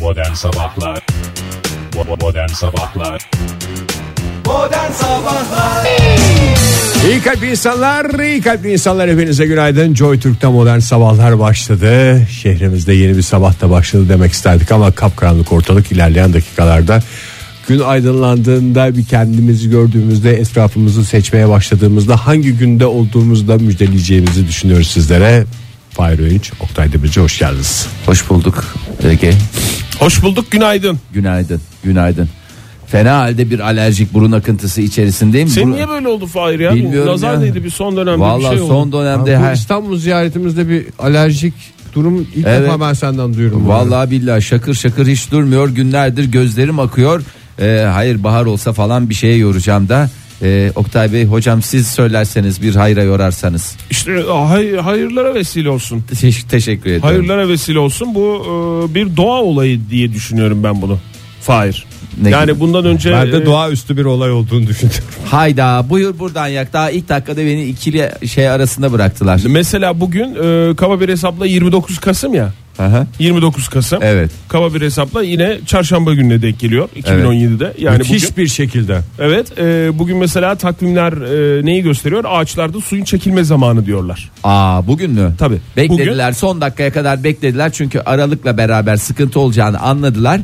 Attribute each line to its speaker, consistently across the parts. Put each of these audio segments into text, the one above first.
Speaker 1: Modern Sabahlar Bo- Modern Sabahlar
Speaker 2: İyi kalp insanlar, iyi kalp insanlar hepinize günaydın. Joy Türk'te modern sabahlar başladı. Şehrimizde yeni bir sabah da başladı demek isterdik ama kapkaranlık ortalık ilerleyen dakikalarda gün aydınlandığında bir kendimizi gördüğümüzde etrafımızı seçmeye başladığımızda hangi günde olduğumuzda müjdeleyeceğimizi düşünüyoruz sizlere. Fahir Öğünç, Oktay Demirci hoş geldiniz.
Speaker 3: Hoş bulduk Ege.
Speaker 4: Hoş bulduk günaydın.
Speaker 3: Günaydın. Günaydın. Fena halde bir alerjik burun akıntısı içerisindeyim.
Speaker 4: Sen
Speaker 3: Burun-
Speaker 4: niye böyle oldu Fahir ya?
Speaker 3: Bilmiyorum
Speaker 4: Bu Nazar
Speaker 3: ya.
Speaker 4: neydi bir son dönemde bir
Speaker 3: Vallahi
Speaker 4: şey oldu.
Speaker 3: son dönemde
Speaker 2: bu
Speaker 3: her
Speaker 2: İstanbul ziyaretimizde bir alerjik durum ilk
Speaker 3: Evet.
Speaker 2: defa ben senden duyuyorum.
Speaker 3: Vallahi billahi şakır şakır hiç durmuyor. Günlerdir gözlerim akıyor. Ee, hayır bahar olsa falan bir şeye yoracağım da. Ee, Oktay Bey hocam siz söylerseniz bir hayra yorarsanız.
Speaker 4: İşte e, hay- hayırlara vesile olsun.
Speaker 3: Teş- Teşekkür ederim.
Speaker 4: Hayırlara vesile olsun. Bu e, bir doğa olayı diye düşünüyorum ben bunu. Fahir.
Speaker 3: Ne
Speaker 4: yani
Speaker 3: gibi?
Speaker 4: bundan önce
Speaker 2: Ben
Speaker 4: e,
Speaker 2: de doğaüstü bir olay olduğunu düşünüyorum.
Speaker 3: Hayda buyur buradan yak. Daha ilk dakikada beni ikili şey arasında bıraktılar.
Speaker 4: mesela bugün e, kaba bir hesapla 29 Kasım ya.
Speaker 3: Aha.
Speaker 4: 29 Kasım.
Speaker 3: Evet.
Speaker 4: Kaba bir hesapla yine çarşamba gününe denk geliyor 2017'de. Yani
Speaker 2: Müthiş
Speaker 4: bugün.
Speaker 2: bir şekilde.
Speaker 4: Evet. e, bugün mesela takvimler e, neyi gösteriyor? Ağaçlarda suyun çekilme zamanı diyorlar.
Speaker 3: Aa bugün mü?
Speaker 4: Tabii.
Speaker 3: Beklediler son dakikaya kadar beklediler çünkü aralıkla beraber sıkıntı olacağını anladılar.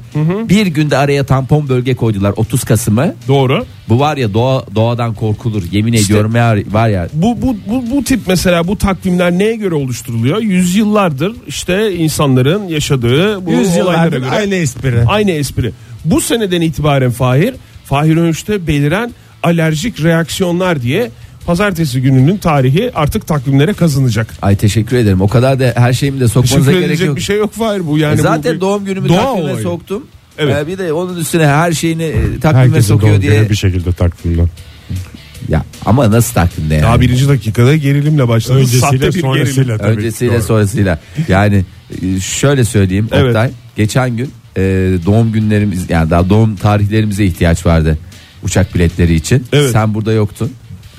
Speaker 3: Bir günde araya tampon bölge koydular 30 Kasım'ı.
Speaker 4: Doğru.
Speaker 3: Bu var ya doğa, doğadan korkulur yemin ediyorum ya, var ya.
Speaker 4: bu, bu, bu, bu tip mesela bu takvimler neye göre oluşturuluyor? Yüzyıllardır işte insanların yaşadığı bu olaylara göre. Aynı.
Speaker 2: espri.
Speaker 4: espri. Bu seneden itibaren Fahir, Fahir Önç'te beliren alerjik reaksiyonlar diye pazartesi gününün tarihi artık takvimlere kazınacak.
Speaker 3: Ay teşekkür ederim o kadar da her şeyimi de sokmanıza
Speaker 4: Şükür
Speaker 3: gerek
Speaker 4: edilecek
Speaker 3: yok.
Speaker 4: bir şey yok Fahir bu yani.
Speaker 3: Zaten
Speaker 4: bu bir
Speaker 3: doğum günümü
Speaker 4: doğa
Speaker 3: takvime
Speaker 4: olayı.
Speaker 3: soktum.
Speaker 4: Evet.
Speaker 3: Ee, bir de onun üstüne her şeyini e, takvime
Speaker 2: Herkesin doğum
Speaker 3: sokuyor
Speaker 2: günü
Speaker 3: diye.
Speaker 4: şey.
Speaker 2: bir şekilde takvimden.
Speaker 3: Ya ama nasıl takvimde yani?
Speaker 4: Daha birinci dakikada gerilimle başladı. Sahte
Speaker 2: Öncesiyle
Speaker 4: bir gerilim.
Speaker 2: sonrasıyla tabii.
Speaker 3: Öncesiyle
Speaker 2: Doğru.
Speaker 3: sonrasıyla. Yani e, şöyle söyleyeyim
Speaker 4: Evet.
Speaker 3: Oktay. Geçen gün e, doğum günlerimiz yani daha doğum tarihlerimize ihtiyaç vardı. Uçak biletleri için.
Speaker 4: Evet.
Speaker 3: Sen burada yoktun.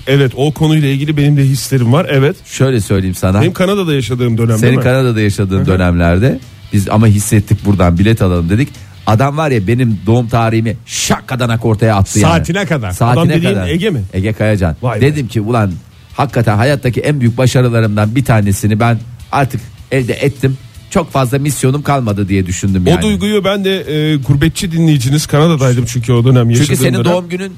Speaker 4: Evet o konuyla ilgili benim de hislerim var. Evet.
Speaker 3: Şöyle söyleyeyim sana.
Speaker 4: Benim Kanada'da yaşadığım dönemde
Speaker 3: Senin
Speaker 4: mi?
Speaker 3: Kanada'da yaşadığın dönemlerde biz ama hissettik buradan bilet alalım dedik. Adam var ya benim doğum tarihimi şak adanak ortaya attı yani.
Speaker 2: Saatine kadar.
Speaker 3: Saatine
Speaker 4: Adam dediğin
Speaker 3: kadar.
Speaker 4: Ege mi?
Speaker 3: Ege Kayacan.
Speaker 4: Vay be.
Speaker 3: Dedim ki ulan hakikaten hayattaki en büyük başarılarımdan bir tanesini ben artık elde ettim. Çok fazla misyonum kalmadı diye düşündüm yani.
Speaker 4: O duyguyu ben de e, gurbetçi dinleyiciniz Kanada'daydım çünkü o dönem yaşadığım
Speaker 3: Çünkü senin
Speaker 4: dönem.
Speaker 3: doğum günün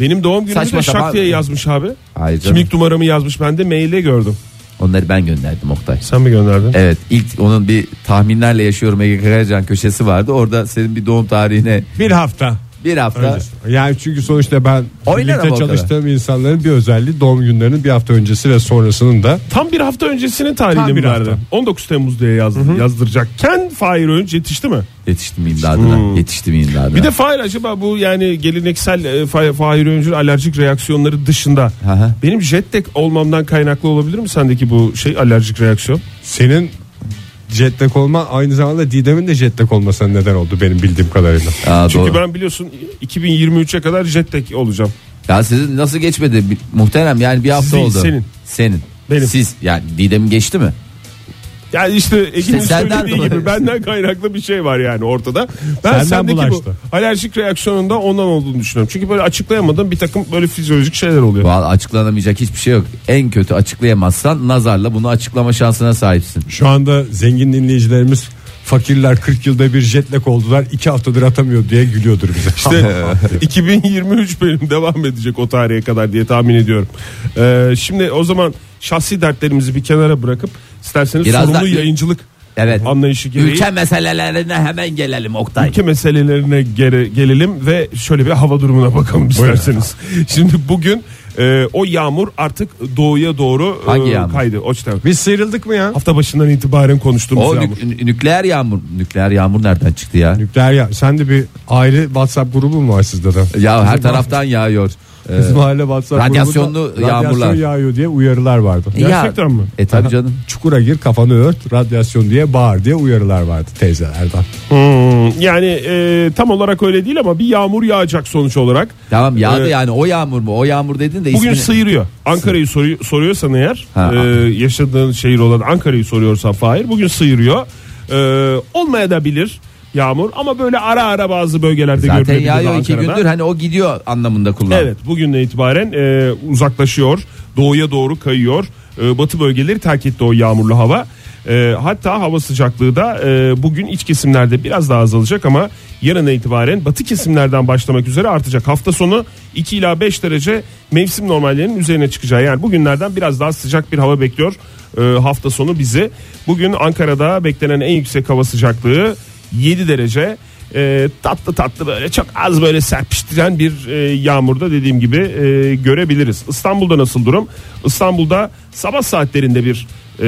Speaker 4: Benim doğum günümü
Speaker 3: Saçma
Speaker 4: de şak
Speaker 3: sapan-
Speaker 4: diye yazmış abi.
Speaker 3: Hayır canım.
Speaker 4: Kimlik numaramı yazmış ben de maille gördüm.
Speaker 3: onları ben gönderdim Oktay.
Speaker 4: Sen mi gönderdin?
Speaker 3: Evet ilk onun bir tahminlerle yaşıyorum Ege Kayacan köşesi vardı. Orada senin bir doğum tarihine
Speaker 2: Bir hafta.
Speaker 3: bir hafta
Speaker 2: öncesi. Yani çünkü sonuçta ben
Speaker 3: Oynarım o
Speaker 2: birlikte
Speaker 3: kadar.
Speaker 2: çalıştığım insanların bir özelliği doğum günlerinin bir hafta öncesi ve sonrasının da
Speaker 4: Tam bir hafta öncesinin
Speaker 2: Tam
Speaker 4: tarihini
Speaker 2: bir
Speaker 4: mi verdi?
Speaker 2: hafta.
Speaker 4: 19 Temmuz diye yazdı, yazdıracakken Fahir Önç yetişti mi?
Speaker 3: yetiştim imdadına. Yetiştim imdadına.
Speaker 4: Hmm. Bir de Fahir acaba bu yani geleneksel e, Fa- Fahir Önç'ün alerjik reaksiyonları dışında
Speaker 3: hı.
Speaker 4: benim jet lag olmamdan kaynaklı olabilir mi sendeki bu şey alerjik reaksiyon?
Speaker 2: senin jetlek olma aynı zamanda Didem'in de jetlek olmasına neden oldu benim bildiğim kadarıyla.
Speaker 3: Aa,
Speaker 4: Çünkü
Speaker 3: doğru.
Speaker 4: ben biliyorsun 2023'e kadar jet lag olacağım.
Speaker 3: Ya sizin nasıl geçmedi Bi- muhterem yani bir hafta
Speaker 4: Sizin,
Speaker 3: oldu.
Speaker 4: senin.
Speaker 3: Senin.
Speaker 4: Benim.
Speaker 3: Siz yani Didem geçti mi?
Speaker 4: Yani işte Ege'nin
Speaker 3: senden
Speaker 4: söylediği
Speaker 3: dolayı.
Speaker 4: gibi benden kaynaklı bir şey var yani ortada. Ben
Speaker 2: Senden
Speaker 4: sendeki
Speaker 2: bulaştı.
Speaker 4: bu alerjik reaksiyonunda ondan olduğunu düşünüyorum. Çünkü böyle açıklayamadığım bir takım böyle fizyolojik şeyler oluyor.
Speaker 3: Vallahi açıklanamayacak hiçbir şey yok. En kötü açıklayamazsan nazarla bunu açıklama şansına sahipsin.
Speaker 2: Şu anda zengin dinleyicilerimiz fakirler 40 yılda bir jetlek oldular 2 haftadır atamıyor diye gülüyordur bize.
Speaker 4: İşte 2023 benim devam edecek o tarihe kadar diye tahmin ediyorum. Ee, şimdi o zaman şahsi dertlerimizi bir kenara bırakıp isterseniz
Speaker 3: Biraz
Speaker 4: sorumlu
Speaker 3: daha-
Speaker 4: yayıncılık
Speaker 3: Evet.
Speaker 4: anlayışı gereği
Speaker 3: Ülke meselelerine hemen gelelim Oktay.
Speaker 4: Ülke meselelerine gere- gelelim ve şöyle bir hava durumuna bakalım isterseniz. Şimdi bugün e, o yağmur artık doğuya doğru e,
Speaker 3: Hangi yağmur?
Speaker 4: kaydı. O işte
Speaker 2: Biz sıyrıldık mı ya?
Speaker 4: hafta başından itibaren konuştuğumuz
Speaker 3: O
Speaker 4: yağmur.
Speaker 3: nük- nükleer yağmur. Nükleer yağmur nereden çıktı ya?
Speaker 2: Nükleer ya. Sen de bir aile WhatsApp grubu mu var sizde de?
Speaker 3: Ya her taraftan yağıyor. Ee,
Speaker 2: Bizim aile WhatsApp
Speaker 3: radyasyonlu
Speaker 2: grubunda
Speaker 3: yağmurlar.
Speaker 2: radyasyon yağıyor diye uyarılar vardı.
Speaker 3: ya-
Speaker 4: Gerçekten mi?
Speaker 3: E tabi canım.
Speaker 2: Çukura gir kafanı ört radyasyon diye bağır diye uyarılar vardı teyzelerden.
Speaker 4: Hmm, yani e, tam olarak öyle değil ama bir yağmur yağacak sonuç olarak.
Speaker 3: Tamam yağdı
Speaker 4: Ee,
Speaker 3: yani o yağmur mu? O yağmur dedin de
Speaker 4: Bugün
Speaker 3: ismini-
Speaker 4: sıyırıyor. Ankara'yı soru- soruyorsan eğer
Speaker 3: Ha,
Speaker 4: e, yaşadığın şehir olan Ankara'yı soruyorsan Fahir bugün sıyırıyor. E, olmaya da bilir. yağmur ama böyle ara ara bazı bölgelerde
Speaker 3: Zaten
Speaker 4: görülebilir
Speaker 3: yağıyor iki
Speaker 4: Ankara'da.
Speaker 3: gündür hani o gidiyor anlamında kullan.
Speaker 4: Evet bugünden itibaren e, uzaklaşıyor. Doğuya doğru kayıyor. E, batı bölgeleri terk etti o yağmurlu hava. E, hatta hava sıcaklığı da e, bugün iç kesimlerde biraz daha azalacak ama yarına itibaren batı kesimlerden başlamak üzere artacak. Hafta sonu 2 ila 5 derece mevsim normallerinin üzerine çıkacağı yani bugünlerden biraz daha sıcak bir hava bekliyor e, hafta sonu bizi. Bugün Ankara'da beklenen en yüksek hava sıcaklığı 7 derece e, tatlı tatlı böyle çok az böyle serpiştiren bir e, yağmurda dediğim gibi e, görebiliriz. İstanbul'da nasıl durum? İstanbul'da sabah saatlerinde bir e,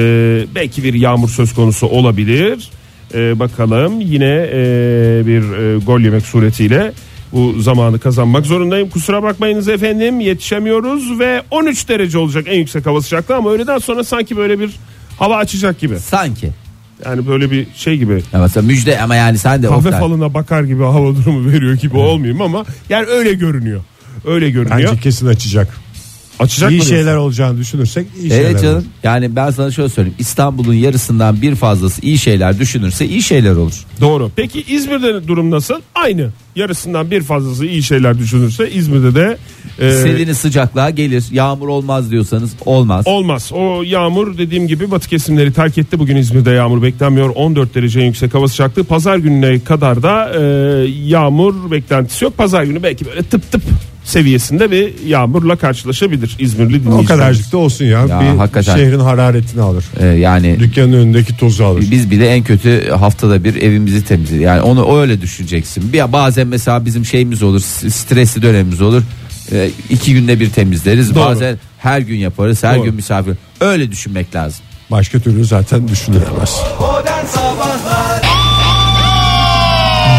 Speaker 4: belki bir yağmur söz konusu olabilir. E, bakalım yine e, bir e, gol yemek suretiyle bu zamanı kazanmak zorundayım. Kusura bakmayınız efendim yetişemiyoruz ve 13 derece olacak en yüksek hava sıcaklığı ama öğleden sonra sanki böyle bir hava açacak gibi.
Speaker 3: Sanki.
Speaker 4: Yani böyle bir şey gibi
Speaker 3: Ya mesela müjde ama yani sen de
Speaker 4: kahve
Speaker 3: Oktay.
Speaker 4: falına bakar gibi hava durumu veriyor gibi olmayayım ama yani öyle görünüyor. Öyle görünüyor.
Speaker 2: Bence kesin açacak.
Speaker 4: Açacak
Speaker 2: iyi
Speaker 4: mı
Speaker 2: şeyler
Speaker 4: diyorsun?
Speaker 2: olacağını düşünürsek iyi şeyler
Speaker 3: Evet
Speaker 2: olur.
Speaker 3: canım. Yani ben sana şöyle söyleyeyim. İstanbul'un yarısından bir fazlası iyi şeyler düşünürse iyi şeyler olur.
Speaker 4: Doğru. Peki İzmir'de durum nasıl? Aynı. Yarısından bir fazlası iyi şeyler düşünürse İzmir'de de e,
Speaker 3: Selini sıcaklığa gelir. Yağmur olmaz diyorsanız olmaz.
Speaker 4: olmaz. O yağmur dediğim gibi batı kesimleri terk etti. Bugün İzmir'de yağmur beklenmiyor. 14 derece en yüksek hava sıcaklığı. Pazar gününe kadar da e, yağmur beklentisi yok. Pazar günü belki böyle tıp tıp seviyesinde bir yağmurla karşılaşabilir İzmirli dinleyiciler.
Speaker 2: O kadarcık da olsun ya.
Speaker 3: Ya,
Speaker 2: bir
Speaker 3: hakikaten.
Speaker 2: şehrin hararetini alır.
Speaker 3: Ee, yani
Speaker 2: Dükkanın önündeki tozu alır.
Speaker 3: biz bile en kötü haftada bir evimizi temizliyoruz. Yani onu öyle düşüneceksin. Bir bazen mesela bizim şeyimiz olur, s- stresli dönemimiz olur. Ee, iki günde bir temizleriz.
Speaker 4: Doğru.
Speaker 3: Bazen her gün yaparız, her
Speaker 4: Doğru.
Speaker 3: gün misafir. Öyle düşünmek lazım.
Speaker 2: Başka türlü zaten düşünülemez.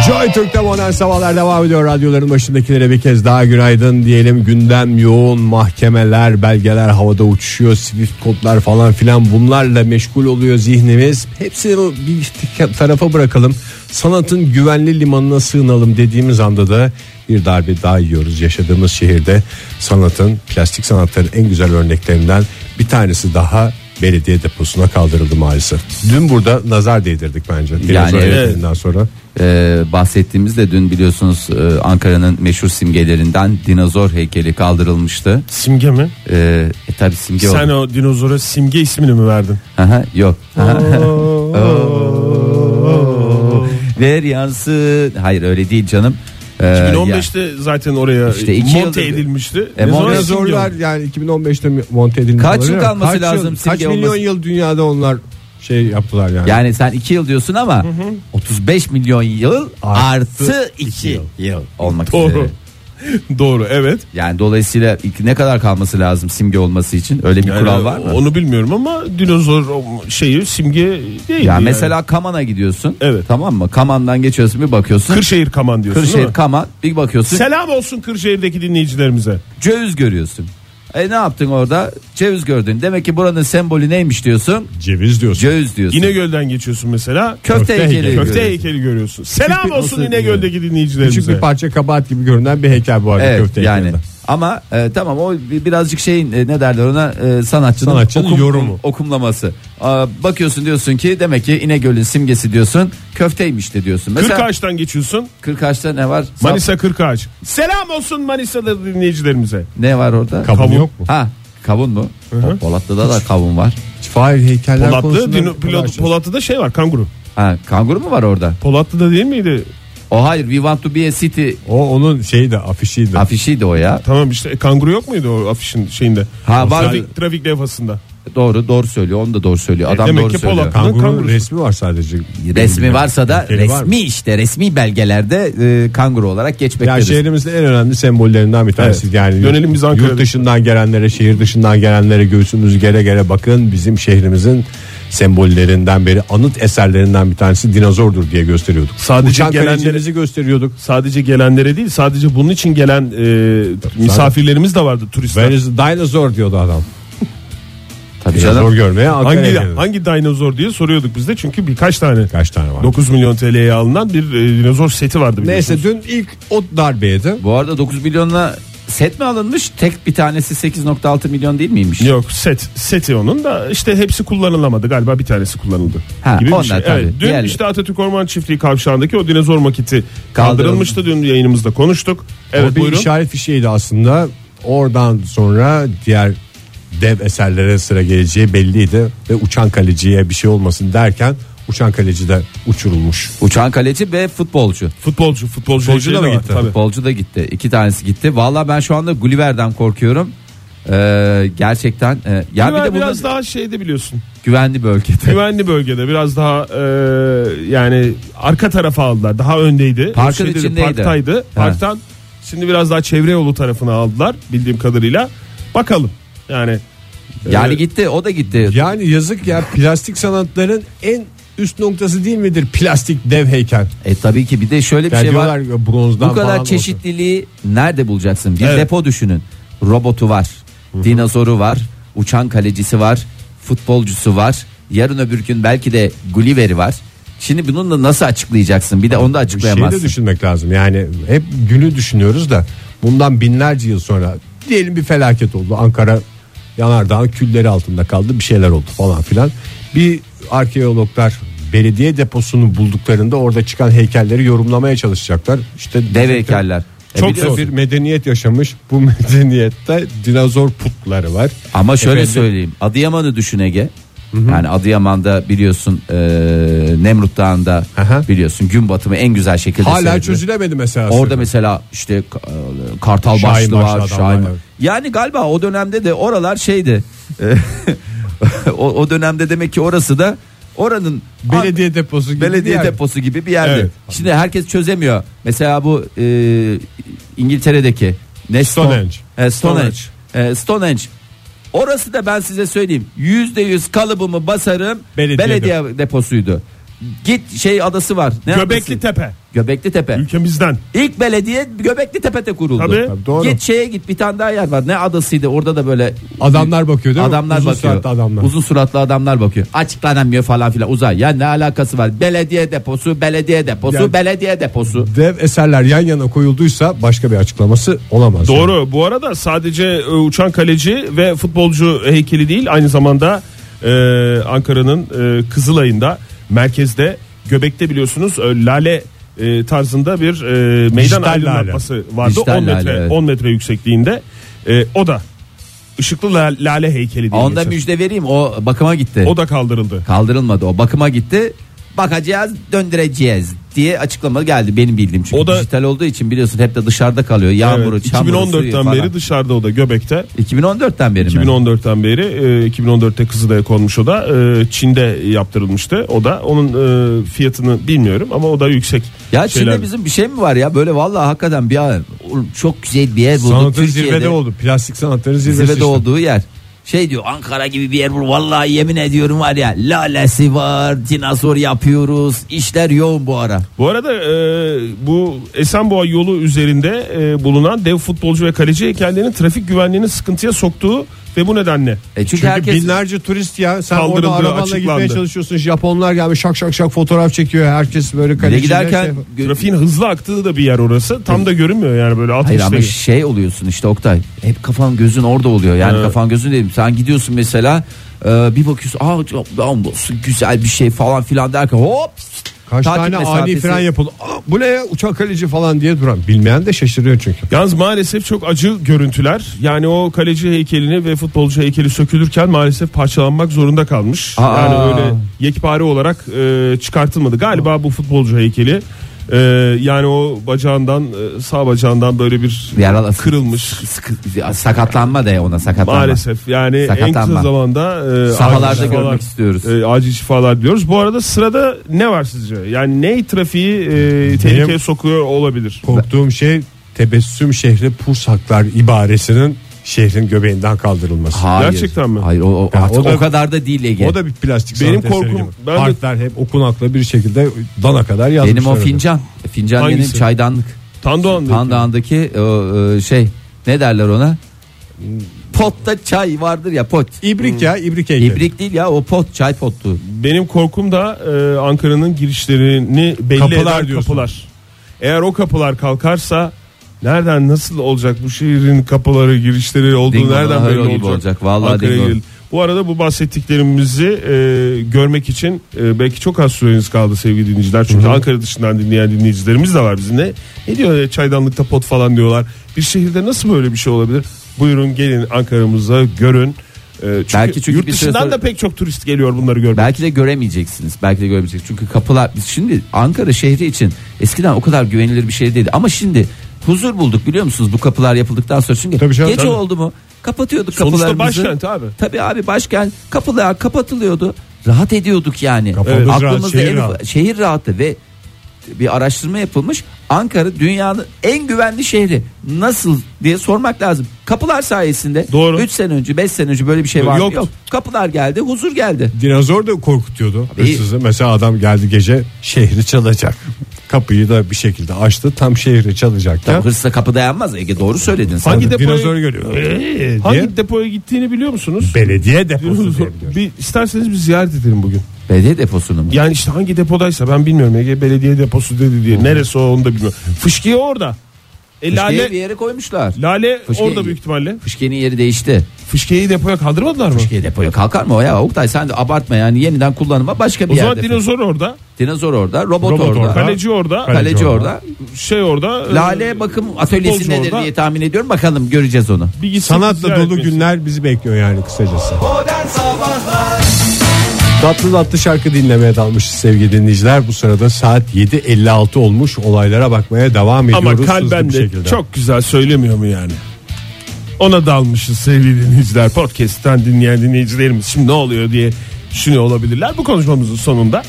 Speaker 2: Joy Türk'te modern sabahlar devam ediyor. Radyoların başındakilere bir kez daha günaydın diyelim. Gündem yoğun, mahkemeler, belgeler havada uçuşuyor. Swift kodlar falan filan bunlarla meşgul oluyor zihnimiz. Hepsini bir tarafa bırakalım. Sanatın güvenli limanına sığınalım dediğimiz anda da bir darbe daha yiyoruz yaşadığımız şehirde. Sanatın, plastik sanatların en güzel örneklerinden bir tanesi daha belediye deposuna kaldırıldı maalesef. Dün burada nazar değdirdik bence. Yani
Speaker 3: evet.
Speaker 2: sonra.
Speaker 3: Ee, bahsettiğimizde dün biliyorsunuz e, Ankara'nın meşhur simgelerinden dinozor heykeli kaldırılmıştı.
Speaker 4: Simge mi?
Speaker 3: Ee, e, tabii simge oldu.
Speaker 4: Sen o dinozora simge ismini mi verdin?
Speaker 3: Aha, yok. Ver yansın. Hayır öyle değil canım. Ee, ya-
Speaker 4: 2015'te zaten oraya
Speaker 3: İşte iki
Speaker 4: monte
Speaker 3: yıldır-
Speaker 4: edilmişti.
Speaker 3: E, monte-
Speaker 4: Ne zaman
Speaker 3: Biraz
Speaker 4: simge
Speaker 2: Dinozorlar
Speaker 4: oldu?
Speaker 2: yani 2015'te mi monte edilmiş
Speaker 3: Kaç
Speaker 2: olabilir
Speaker 3: yıl
Speaker 2: mi?
Speaker 3: kalması
Speaker 2: Kaç yıl-
Speaker 3: lazım
Speaker 2: kaç
Speaker 3: simge
Speaker 2: milyon
Speaker 3: olması?
Speaker 2: yıl dünyada onlar şey yaptılar yani.
Speaker 3: Yani sen 2 yıl diyorsun ama 35 milyon yıl
Speaker 2: Artı
Speaker 3: artı 2 yıl. olmak üzere.
Speaker 4: Doğru. Doğru evet.
Speaker 3: Yani dolayısıyla ilk ne kadar kalması lazım simge olması için? Öyle bir
Speaker 4: Yani
Speaker 3: kural var mı?
Speaker 4: Onu bilmiyorum ama dinozor o şeyi simge değil.
Speaker 3: ya
Speaker 4: yani.
Speaker 3: mesela Kaman'a gidiyorsun.
Speaker 4: Evet.
Speaker 3: Tamam mı? Kaman'dan geçiyorsun bir bakıyorsun.
Speaker 4: Kırşehir Kaman diyorsun değil
Speaker 3: Kırşehir
Speaker 4: mi?
Speaker 3: Kaman bir bakıyorsun.
Speaker 4: Selam olsun Kırşehir'deki dinleyicilerimize.
Speaker 3: ceviz görüyorsun. E ne yaptın orada? Ceviz gördün. Demek ki buranın sembolü neymiş diyorsun?
Speaker 2: ceviz diyorsun.
Speaker 3: Ceviz diyorsun.
Speaker 4: İnegöl'den geçiyorsun mesela.
Speaker 3: köfte,
Speaker 2: köfte
Speaker 3: heykeli.
Speaker 2: heykeli.
Speaker 3: görüyorsun.
Speaker 4: Köfte heykeli görüyorsun. Selam
Speaker 3: Küçük bir-
Speaker 4: olsun
Speaker 3: olsun
Speaker 4: İnegöl'deki
Speaker 2: Küçük
Speaker 4: dinleyicilerimize.
Speaker 2: bir parça kabahat gibi görünen bir heykel bu arada
Speaker 3: Evet
Speaker 2: köfte
Speaker 3: yani.
Speaker 2: heykelinde.
Speaker 3: Ama e, tamam o bi- birazcık şeyin e, ne derler ona e, sanatçının,
Speaker 2: Sanatçının yorumu.
Speaker 3: okumlaması. Aa, bakıyorsun diyorsun ki demek ki İnegöl'ün simgesi diyorsun. Köfteymiş de diyorsun. Mesela
Speaker 4: Kırkağaç'tan geçiyorsun.
Speaker 3: Kırkaç'ta ne var? Sap-
Speaker 4: Manisa Kırkağaç. Selam olsun Manisa'da dinleyicilerimize.
Speaker 3: ne var orada?
Speaker 2: Kavun,
Speaker 4: Kavun.
Speaker 2: yok mu?
Speaker 3: Ha kavun mu? O, Polatlı'da da kavun var.
Speaker 2: Fahir heykeller
Speaker 4: Polatlı,
Speaker 2: konusunda
Speaker 4: dino,
Speaker 2: ne kadar
Speaker 4: Polat-
Speaker 2: şey?
Speaker 4: Polatlı'da şey var kanguru.
Speaker 3: Ha kanguru mu var orada?
Speaker 4: Polatlı'da değil miydi?
Speaker 3: O hayır We Want to Be a City
Speaker 2: O onun şeyi de afişiydi.
Speaker 3: afişiydi o ya.
Speaker 4: Tamam işte e, kanguru yok muydu o afişin şeyinde?
Speaker 3: Ha, var.
Speaker 4: Trafik, trafik levhasında.
Speaker 3: Doğru doğru söylüyor. Onu da doğru söylüyor. Adam
Speaker 4: demek
Speaker 3: doğru
Speaker 4: ki
Speaker 3: söylüyor.
Speaker 4: Polat-
Speaker 2: Kangurunun
Speaker 4: Kanguru.
Speaker 2: resmi var sadece.
Speaker 3: Resmi varsa da
Speaker 2: Heykeli var mı?
Speaker 3: resmi işte resmi belgelerde e, kanguru olarak
Speaker 2: Yani
Speaker 3: geçmektedir.
Speaker 2: şehrimizin en önemli sembollerinden bir tanesi.
Speaker 4: Evet.
Speaker 2: Yani
Speaker 4: Dönelim biz Ankara'da.
Speaker 2: Yurt dışından gelenlere, şehir dışından gelenlere göğsümüz gere gere bakın. Bizim şehrimizin sembollerinden beri anıt eserlerinden bir tanesi dinozordur diye gösteriyorduk.
Speaker 4: Sadece
Speaker 2: Uçan
Speaker 4: gelenlere-
Speaker 2: kalecimizi gösteriyorduk.
Speaker 4: Sadece gelenlere değil sadece bunun için gelen e, misafirlerimiz de vardı turistler.
Speaker 2: Where is the dinosaur diyordu adam.
Speaker 3: Tabii canım.
Speaker 2: Dinozor görmeye Ankara'ya
Speaker 4: hangi
Speaker 2: geliyor.
Speaker 4: hangi dinozor diye soruyorduk biz de çünkü birkaç tane.
Speaker 2: Kaç tane var?
Speaker 4: 9 milyon TL'ye alınan bir e, dinozor seti vardı.
Speaker 2: Neyse
Speaker 4: biliyorsunuz.
Speaker 2: dün ilk o darbeydi.
Speaker 3: Bu arada 9 milyonla set mi alınmış? Tek bir tanesi 8.6 milyon değil miymiş?
Speaker 4: Yok set seti onun da işte hepsi kullanılamadı galiba bir tanesi kullanıldı.
Speaker 3: Ha,
Speaker 4: gibi bir
Speaker 3: onlar
Speaker 4: şey.
Speaker 3: tabii.
Speaker 4: Evet, dün
Speaker 3: Diğerleri.
Speaker 4: işte Atatürk Orman Çiftliği kavşağındaki o dinozor maketi kaldırılmıştı dün yayınımızda konuştuk. Evet
Speaker 2: o bir
Speaker 4: buyurun.
Speaker 2: işaret fişeğiydi aslında. Oradan sonra diğer dev eserlere sıra geleceği belliydi. Ve uçan kaleciye bir şey olmasın derken uçan kaleci de uçurulmuş.
Speaker 3: Uçan kaleci ve futbolcu.
Speaker 4: Futbolcu futbolcu,
Speaker 2: Futbolcu da mı
Speaker 4: şey de var,
Speaker 2: gitti?
Speaker 4: tabii.
Speaker 3: Futbolcu da gitti. İki tanesi gitti. Vallahi ben şu anda Gulliver'den korkuyorum. Ee, gerçekten e, ya bir
Speaker 4: Güven
Speaker 3: de bunlar
Speaker 4: biraz daha şeyde biliyorsun.
Speaker 3: güvenli bölgede.
Speaker 4: Güvenli bölgede biraz daha e, yani arka tarafa aldılar. Daha öndeydi.
Speaker 3: Parkın
Speaker 4: Şey dedi,
Speaker 3: içindeydi.
Speaker 4: Parktaydı. Parktan şimdi biraz daha çevre yolu tarafına aldılar bildiğim kadarıyla. Bakalım. Yani
Speaker 3: Yani
Speaker 4: e,
Speaker 3: gitti, o da gitti.
Speaker 2: Yani yazık ya plastik sanatların en üst noktası değil midir plastik dev heykel?
Speaker 3: E tabii ki bir de şöyle bir
Speaker 2: Yani
Speaker 3: şey var.
Speaker 2: diyorlar ya bronzdan falan
Speaker 3: Bu kadar
Speaker 2: olsun.
Speaker 3: çeşitliliği nerede bulacaksın? Bir
Speaker 4: Evet.
Speaker 3: depo düşünün. Robotu var, dinozoru var, uçan kalecisi var, futbolcusu var. Yarın öbür gün belki de Gulliver'i var. Şimdi bununla nasıl açıklayacaksın? Bir de onu da
Speaker 2: Bir Şeyi
Speaker 3: açıklayamazsın.
Speaker 2: de düşünmek lazım. Yani hep günü düşünüyoruz da bundan binlerce yıl sonra diyelim bir felaket oldu. Ankara yanardağın külleri altında kaldı. Bir şeyler oldu falan filan. Bir arkeologlar belediye deposunu bulduklarında orada çıkan heykelleri yorumlamaya çalışacaklar. İşte
Speaker 3: Dev heykeller. E
Speaker 2: Çok
Speaker 3: bir de-
Speaker 2: da bir medeniyet yaşamış. Bu medeniyette dinozor putları var.
Speaker 3: Ama şöyle
Speaker 2: Efendim?
Speaker 3: söyleyeyim. Adıyaman'ı düşün Ege. Yani Adıyaman'da biliyorsun e, Nemrut Dağı'nda
Speaker 2: Aha.
Speaker 3: biliyorsun gün batımı en güzel şekilde
Speaker 2: Hala
Speaker 3: seyrediyor.
Speaker 2: çözülemedi mesela.
Speaker 3: Orada mesela işte e, Kartal
Speaker 2: Şahin
Speaker 3: Başlı var.
Speaker 2: başlı
Speaker 3: Şahin.
Speaker 2: adamlar, evet.
Speaker 3: Yani galiba o dönemde de oralar şeydi. E, o, o dönemde demek ki orası da oranın
Speaker 2: belediye deposu gibi.
Speaker 3: belediye
Speaker 2: bir yer.
Speaker 3: deposu gibi bir yerdi.
Speaker 4: Evet.
Speaker 3: Şimdi herkes çözemiyor. Mesela bu e, İngiltere'deki ne
Speaker 2: Stonehenge.
Speaker 3: Stone- e, Stonehenge. E, Stonehenge. Orası da ben size söyleyeyim. Yüzde yüz kalıbımı basarım.
Speaker 2: Belediye
Speaker 3: Belediye, deposuydu. Git şey adası var. Ne
Speaker 4: Göbekli
Speaker 3: adası?
Speaker 4: Tepe
Speaker 3: Göbekli Tepe.
Speaker 4: ülkemizden.
Speaker 3: İlk belediye Göbekli Tepe'de kuruldu.
Speaker 4: Tabii.
Speaker 2: Tabii, doğru.
Speaker 3: Git şeye git bir tane daha yer var. Ne adasıydı orada da böyle
Speaker 2: Adamlar bakıyor değil mi?
Speaker 3: adamlar
Speaker 2: Uzun
Speaker 3: bakıyor.
Speaker 2: suratlı adamlar.
Speaker 3: Uzun suratlı adamlar bakıyor. Açıklanamıyor falan filan uzay. Ya ne alakası var? Belediye deposu, belediye deposu,
Speaker 2: Yani-
Speaker 3: belediye deposu.
Speaker 2: dev eserler yan yana koyulduysa başka bir açıklaması olamaz.
Speaker 4: Doğru. Bu arada sadece e, uçan kaleci ve futbolcu heykeli değil aynı zamanda e, Ankara'nın e, Kızılay'ında merkezde Göbek'te biliyorsunuz e, lale e, tarzında bir e, meydan
Speaker 2: Dijital
Speaker 4: aydınlatması vardı.
Speaker 3: Dijital
Speaker 4: 10 metre
Speaker 3: lale, evet.
Speaker 4: 10 metre yüksekliğinde. E, o da ışıklı la- lale heykeli diye
Speaker 3: Onda
Speaker 4: geçer.
Speaker 3: müjde vereyim o bakıma gitti.
Speaker 4: O da kaldırıldı.
Speaker 3: Kaldırılmadı o bakıma gitti. Bakacağız döndüreceğiz diye açıklama geldi benim bildiğim. Çünkü
Speaker 4: O da-
Speaker 3: dijital olduğu için biliyorsun hep de dışarıda kalıyor. Yağmuru,
Speaker 4: Evet,
Speaker 3: çamuru, suyu
Speaker 4: 2014'ten
Speaker 3: falan.
Speaker 4: beri dışarıda o da Göbek'te.
Speaker 3: 2014'ten beri mi?
Speaker 4: 2014'ten beri e, 2014'te Kızılay'a konmuş o da e, Çin'de yaptırılmıştı. O da onun e, fiyatını bilmiyorum ama o da yüksek.
Speaker 3: Ya
Speaker 4: şeyler.
Speaker 3: Çin'de bizim bir şey mi var ya böyle vallahi hakikaten bir an oğlum çok güzel bir yer bulduk
Speaker 2: Sanatın
Speaker 3: Türkiye'de.
Speaker 2: zirvede oldu. Plastik sanatların zirvesi.
Speaker 3: zirvede
Speaker 2: işte.
Speaker 3: olduğu yer. Şey diyor Ankara gibi bir yer bu vallahi yemin ediyorum var ya lalesi var dinozor yapıyoruz işler yoğun bu ara.
Speaker 4: Bu arada e, bu Esenboğa yolu üzerinde e, bulunan dev futbolcu ve kaleci heykellerinin trafik güvenliğini sıkıntıya soktuğu ve bu nedenle
Speaker 3: E çünkü,
Speaker 2: Çünkü
Speaker 3: herkes
Speaker 2: binlerce turist ya. Sen
Speaker 4: Kaldırıldığı
Speaker 2: orada arabanla gitmeye
Speaker 4: açıklandı.
Speaker 2: çalışıyorsun. Japonlar gelmiş şak şak şak fotoğraf çekiyor. Herkes böyle
Speaker 3: bir de
Speaker 2: kaleciler. şey
Speaker 3: giderken
Speaker 4: trafiğin hızlı aktığı da bir yer orası. Tam da görünmüyor yani böyle
Speaker 3: Hayır
Speaker 4: 60
Speaker 3: ama şey oluyorsun işte Oktay. Hep kafan gözün orada oluyor. Yani
Speaker 4: Evet.
Speaker 3: kafan gözün dedim. Sen gidiyorsun mesela e, bir bakıyorsun aa çok- aman olsun, güzel bir şey falan filan derken hop.
Speaker 2: Kaç
Speaker 3: takip
Speaker 2: tane ani
Speaker 3: mesafesi.
Speaker 2: fren yapıldı. Aa, bu ne ya uçak kaleci falan diye duran. Bilmeyen de şaşırıyor çünkü.
Speaker 4: Yalnız maalesef çok acı görüntüler. Yani o kaleci heykelini ve futbolcu heykeli sökülürken maalesef parçalanmak zorunda kalmış.
Speaker 3: Aa.
Speaker 4: Yani öyle yekpare olarak e, çıkartılmadı. Galiba bu futbolcu heykeli e, yani o bacağından e, sağ bacağından böyle bir
Speaker 3: Yaralı-
Speaker 4: kırılmış.
Speaker 3: Sıkı- Sakatlanma da ya ona sakatlanma.
Speaker 4: Maalesef yani en kısa
Speaker 3: Sakatlanma.
Speaker 4: zamanda e,
Speaker 3: Sahalarda
Speaker 4: acil şifalar-
Speaker 3: görmek istiyoruz.
Speaker 4: e, acil şifalar diyoruz. Bu arada sırada ne var sizce? Yani ne trafiği e, tehlikeye sokuyor olabilir?
Speaker 2: Korktuğum şey tebessüm şehri pursaklar ibaresinin şehrin göbeğinden kaldırılması.
Speaker 3: Hayır.
Speaker 4: Gerçekten mi?
Speaker 3: Hayır o, o,
Speaker 2: Ya,
Speaker 3: artık
Speaker 2: o
Speaker 3: o,
Speaker 2: da-
Speaker 3: kadar da değil Ege.
Speaker 2: O da bir plastik
Speaker 4: Benim
Speaker 2: sanat eseri
Speaker 4: korkum-
Speaker 2: gibi.
Speaker 4: ben de-
Speaker 2: Harfler hep okunakla bir şekilde dana kadar yazmışlar.
Speaker 3: Benim o
Speaker 2: orada.
Speaker 3: fincan. Fincan
Speaker 4: Hangisi?
Speaker 3: benim çaydanlık.
Speaker 4: Tandoğan dedi.
Speaker 3: Pandağındaki o, e, şey ne derler ona? Potta çay vardır ya pot.
Speaker 2: İbrik ya ibrik heykeli.
Speaker 3: İbrik değil ya o pot çay pottu.
Speaker 4: Benim korkum da e, Ankara'nın girişlerini belli
Speaker 2: Kapılar
Speaker 4: eden
Speaker 2: diyorsun.
Speaker 4: kapılar. Eğer o kapılar kalkarsa Nereden nasıl olacak bu şehrin kapıları girişleri olduğu
Speaker 3: Dingolar
Speaker 4: nereden belli
Speaker 3: hero gibi
Speaker 4: olacak?
Speaker 3: olacak. Vallahi
Speaker 4: Ankara'ya
Speaker 3: dingo.
Speaker 4: gelin. Bu arada bu bahsettiklerimizi e, görmek için e, belki çok az süreniz kaldı sevgili dinleyiciler. Çünkü Ankara dışından dinleyen dinleyicilerimiz de var bizimle. Ne diyor öyle çaydanlıkta pot falan diyorlar. Bir şehirde nasıl böyle bir şey olabilir? Buyurun gelin Ankara'mıza görün. E, çünkü
Speaker 3: Belki çünkü
Speaker 4: yurt
Speaker 3: bir süre
Speaker 4: dışından
Speaker 3: sonra-
Speaker 4: da pek çok turist geliyor bunları görmek.
Speaker 3: Belki de göremeyeceksiniz. Belki de göremeyeceksiniz. Çünkü kapılar biz şimdi Ankara şehri için eskiden o kadar güvenilir bir şey değildi ama şimdi huzur bulduk biliyor musunuz bu kapılar yapıldıktan sonra çünkü
Speaker 2: Tabii canım,
Speaker 3: gece
Speaker 2: tabii.
Speaker 3: oldu mu kapatıyorduk
Speaker 4: Sonuçta
Speaker 3: kapılarımızı.
Speaker 4: başkent abi.
Speaker 3: Tabii abi başkent kapılar kapatılıyordu. Rahat ediyorduk yani.
Speaker 2: Kafamız rahat, şehir
Speaker 3: en-
Speaker 2: rahat.
Speaker 3: şehir rahattı ve bir araştırma yapılmış. Ankara dünyanın en güvenli şehri. Nasıl diye sormak lazım. Kapılar sayesinde
Speaker 4: Doğru.
Speaker 3: 3 sene önce 5 sene önce böyle bir şey var mı?
Speaker 4: Yoktu.
Speaker 3: Yok. Kapılar geldi, huzur geldi.
Speaker 2: Dinozor da korkutuyordu
Speaker 3: Abi-
Speaker 2: hırsızı. Mesela adam geldi gece şehri çalacak. Kapıyı da bir şekilde açtı tam şehri çalacakken.
Speaker 3: Tabii hırsıza kapı dayanmaz Ege doğru söyledin sen.
Speaker 4: Hangi depoya-
Speaker 2: dinozor görüyor. Ee,
Speaker 4: Hangi
Speaker 2: diye.
Speaker 4: depoya gittiğini biliyor musunuz?
Speaker 2: Belediye deposu diye biliyorum.
Speaker 4: bir, isterseniz bir ziyaret edelim bugün.
Speaker 3: Belediye deposunu mu?
Speaker 4: Yani işte hangi depodaysa ben bilmiyorum. Ege Belediye deposu dedi diye. Neresi o onu da bilmiyorum. Fışkiye orada. E,
Speaker 3: Fışkeyi bir
Speaker 4: lale
Speaker 3: yere koymuşlar.
Speaker 4: lale
Speaker 3: Fışkiye-
Speaker 4: orada büyük ihtimalle.
Speaker 3: Fışkenin yeri değişti.
Speaker 4: Fışkiyeyi depoya kaldırmadılar mı?
Speaker 3: Fışkiye depoya kalkar mı o ya? Oktay sen de abartma yani yeniden kullanıma başka bir
Speaker 4: O
Speaker 3: yerde.
Speaker 4: zaman dinozor orada.
Speaker 3: Dinozor orada, robot,
Speaker 2: Robot
Speaker 3: orada.
Speaker 2: orada.
Speaker 3: Kaleci,
Speaker 4: Kaleci orada.
Speaker 2: Kaleci
Speaker 3: orada.
Speaker 4: Şey orada. e,
Speaker 3: Lale bakım atölyesi
Speaker 4: futbolcu
Speaker 3: nedir
Speaker 4: orada.
Speaker 3: diye tahmin ediyorum. Bakalım göreceğiz onu.
Speaker 4: Bir şey. gitsek
Speaker 2: Sanatla
Speaker 4: ziyaret
Speaker 2: dolu
Speaker 4: etmeyiz.
Speaker 2: günler bizi bekliyor yani kısacası. Tatlı tatlı şarkı dinlemeye dalmışız sevgili dinleyiciler. Bu sırada saat 7.56 olmuş olaylara bakmaya devam ediyoruz.
Speaker 4: Ama
Speaker 2: hızlı
Speaker 4: kalben
Speaker 2: bir
Speaker 4: de
Speaker 2: şekilde.
Speaker 4: çok güzel söylemiyor mu yani? Ona dalmışız sevgili dinleyiciler. Podcast'ten dinleyen dinleyicilerimiz şimdi ne oluyor diye düşünüyor olabilirler. Bu konuşmamızın sonunda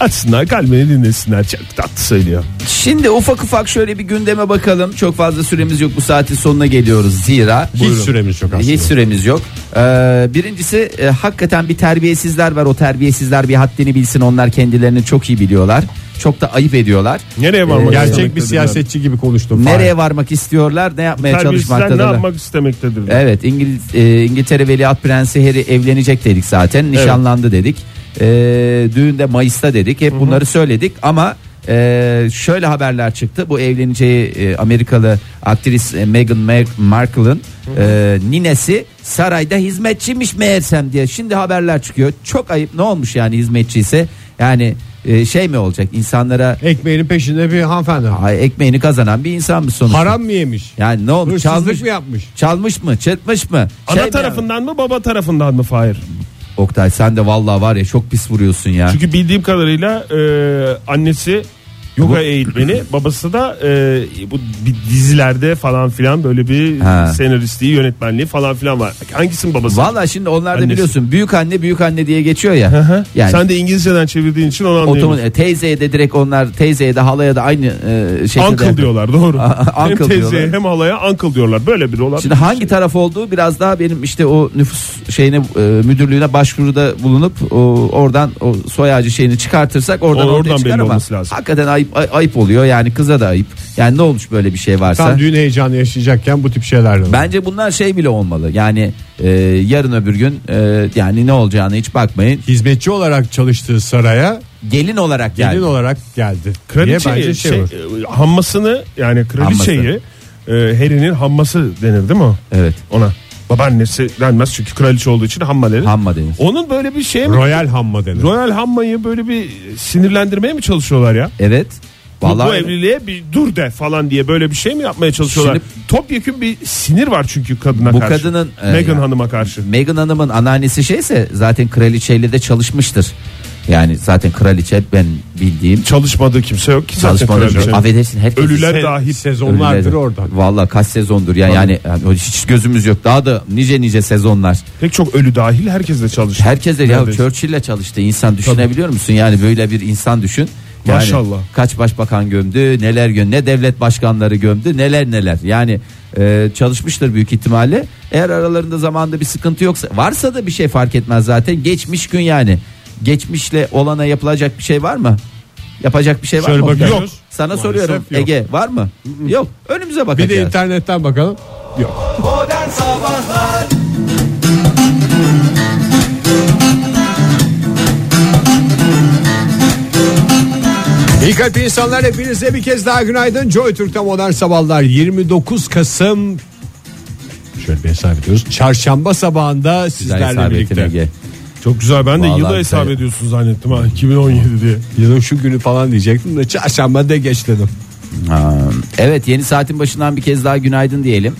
Speaker 4: açsınlar kalbini dinlesinler. Çok tatlı söylüyor.
Speaker 3: Şimdi ufak ufak şöyle bir gündeme bakalım. Çok fazla süremiz yok. Bu saatin sonuna geliyoruz zira.
Speaker 2: Hiç süremiz yok aslında.
Speaker 3: Hiç süremiz yok. Ee, birincisi e, hakikaten bir terbiyesizler var. O terbiyesizler bir haddini bilsin. Onlar kendilerini çok iyi biliyorlar. Çok da ayıp ediyorlar.
Speaker 4: Nereye varmak
Speaker 2: Gerçek
Speaker 4: istemektedirler?
Speaker 2: bir siyasetçi gibi konuştum.
Speaker 3: Nereye varmak istiyorlar? Ne yapmaya
Speaker 4: Terbiyesizler ne
Speaker 3: çalışmaktalar?
Speaker 4: yapmak istemektedir?
Speaker 3: Evet İngiliz, e, İngiltere Veliaht Prensi Harry evlenecek dedik zaten. Nişanlandı dedik. E, düğünde Mayıs'ta dedik. Hep bunları söyledik ama e, şöyle haberler çıktı. Bu evleneceği e, Amerikalı aktris e, Meghan Mar- Markle'ın e, ninesi sarayda hizmetçiymiş meğersem diye. Şimdi haberler çıkıyor. Çok ayıp ne olmuş yani hizmetçi ise. Yani e, şey mi olacak insanlara
Speaker 2: Ekmeğinin peşinde bir hanımefendi.
Speaker 3: ay, ekmeğini kazanan bir insan mı sonuçta?
Speaker 2: Haram mı yemiş?
Speaker 3: Yani ne olmuş?
Speaker 2: Hırsızlık
Speaker 3: Çalmış
Speaker 2: mı yapmış?
Speaker 3: Çalmış mı? Çırpmış mı?
Speaker 4: Ana
Speaker 3: Şey mi yapmış?
Speaker 4: tarafından mı baba tarafından mı Fahir?
Speaker 3: Oktay sen de vallahi var ya çok pis vuruyorsun ya.
Speaker 4: Çünkü bildiğim kadarıyla e, annesi yoga eğitmeni babası da e, bu bir dizilerde falan filan böyle bir
Speaker 3: Ha.
Speaker 4: senaristliği yönetmenliği falan filan var. Hangisinin babası?
Speaker 3: Vallahi şimdi onlar da
Speaker 4: Annesi.
Speaker 3: biliyorsun büyük anne büyük anne diye geçiyor ya.
Speaker 4: Hı?
Speaker 3: Yani
Speaker 4: Sen de İngilizceden çevirdiğin için onu
Speaker 3: otomun
Speaker 4: anlayamıyorum.
Speaker 3: e, teyzeye de direkt onlar teyzeye de halaya da aynı e, şekilde.
Speaker 4: Uncle diyorlar doğru. hem
Speaker 3: Uncle
Speaker 4: teyzeye
Speaker 3: diyorlar.
Speaker 4: hem halaya uncle diyorlar. Böyle biri olan.
Speaker 3: Şimdi hangi taraf olduğu biraz daha benim işte o nüfus şeyine e, müdürlüğüne başvuruda bulunup o, oradan o soy ağacı şeyini çıkartırsak oradan
Speaker 4: O-
Speaker 3: ortaya
Speaker 4: oradan
Speaker 3: çıkar
Speaker 4: belli
Speaker 3: ama
Speaker 4: olması lazım.
Speaker 3: hakikaten ayıp ay- ayıp oluyor yani kıza da ayıp. Yani ne olmuş böyle bir şey varsa.
Speaker 2: Tam düğün heyecanı yaşayacakken bu tip şeylerden.
Speaker 3: Bence bunlar şey bile olmalı. Yani e, yarın öbür gün e, yani ne olacağını hiç bakmayın.
Speaker 2: Hizmetçi olarak çalıştığı saraya
Speaker 3: Gelin olarak
Speaker 2: gelin
Speaker 3: yani.
Speaker 2: olarak geldi. Diye
Speaker 4: Kraliçeyi,
Speaker 2: bence şey,
Speaker 4: şey,
Speaker 2: olur.
Speaker 4: e, hammasını yani kraliçeyi e, Harry'nin hamması denir değil mi o?
Speaker 3: Evet.
Speaker 4: Ona. Babaannesi denmez çünkü kraliçe olduğu için hamma denir.
Speaker 3: Hamma denir.
Speaker 4: Onun böyle bir şey mi?
Speaker 2: Royal hamma denir.
Speaker 4: Royal Hamma'yı böyle bir sinirlendirmeye mi çalışıyorlar ya?
Speaker 3: Evet.
Speaker 4: Bu-
Speaker 3: Vallahi
Speaker 4: bu evliliğe bir dur de falan diye böyle bir şey mi yapmaya çalışıyorlar?
Speaker 3: Şimdi-
Speaker 4: Topyekün bir sinir var çünkü kadına
Speaker 3: Bu
Speaker 4: karşı.
Speaker 3: kadının, e,
Speaker 4: Meghan
Speaker 3: ya-
Speaker 4: Hanım'a karşı.
Speaker 3: Meghan Hanım'ın anneannesi şeyse zaten kraliçeyle de çalışmıştır. Yani zaten kraliçe ben bildiğim
Speaker 4: Çalışmadığı kimse yok ki zaten
Speaker 3: çalışmaları
Speaker 4: kraliçenin.
Speaker 3: affedersin hep
Speaker 4: Ölüler dahil.
Speaker 2: Dahil sezonlardır orada.
Speaker 3: Valla kaç sezondur ya yani, yani hiç gözümüz yok daha da nice nice sezonlar.
Speaker 4: Pek çok ölü dahil herkes de çalışıyor.
Speaker 3: Herkes de ya
Speaker 4: Neredeyse.
Speaker 3: Churchill'le çalıştı insan düşünebiliyor musun? Yani böyle bir insan düşün. Yani
Speaker 4: Maşallah.
Speaker 3: Kaç başbakan gömdü, neler gömdü, ne devlet başkanları gömdü, neler neler. Yani e, çalışmıştır büyük ihtimalle. Eğer aralarında zamanda bir sıkıntı yoksa, varsa da bir şey fark etmez zaten. Geçmiş gün yani. Geçmişle olana yapılacak bir şey var mı? Yapacak bir şey var
Speaker 2: Şöyle
Speaker 3: mı?
Speaker 2: bakıyoruz.
Speaker 3: Yok. Sana
Speaker 2: Maalesef
Speaker 3: soruyorum
Speaker 2: yok.
Speaker 3: Ege var mı? Yok. Önümüze
Speaker 2: Bir
Speaker 3: bakacağız.
Speaker 2: de internetten bakalım. Yok. İyi kalp insanlar hepinize bir kez daha günaydın. Joy Türk'te modern sabahlar 29 Kasım şöyle bir hesap ediyoruz. Çarşamba sabahında sizlerle
Speaker 3: İsabettin
Speaker 2: birlikte.
Speaker 3: Ege.
Speaker 4: Çok güzel ben de
Speaker 3: Vallahi
Speaker 4: yıla hesap
Speaker 3: güzel.
Speaker 4: ediyorsun zannettim ha 2017 diye.
Speaker 2: Yılın şu günü falan diyecektim de çarşamba de geç dedim.
Speaker 3: Ha, Evet yeni saatin başından bir kez daha günaydın diyelim.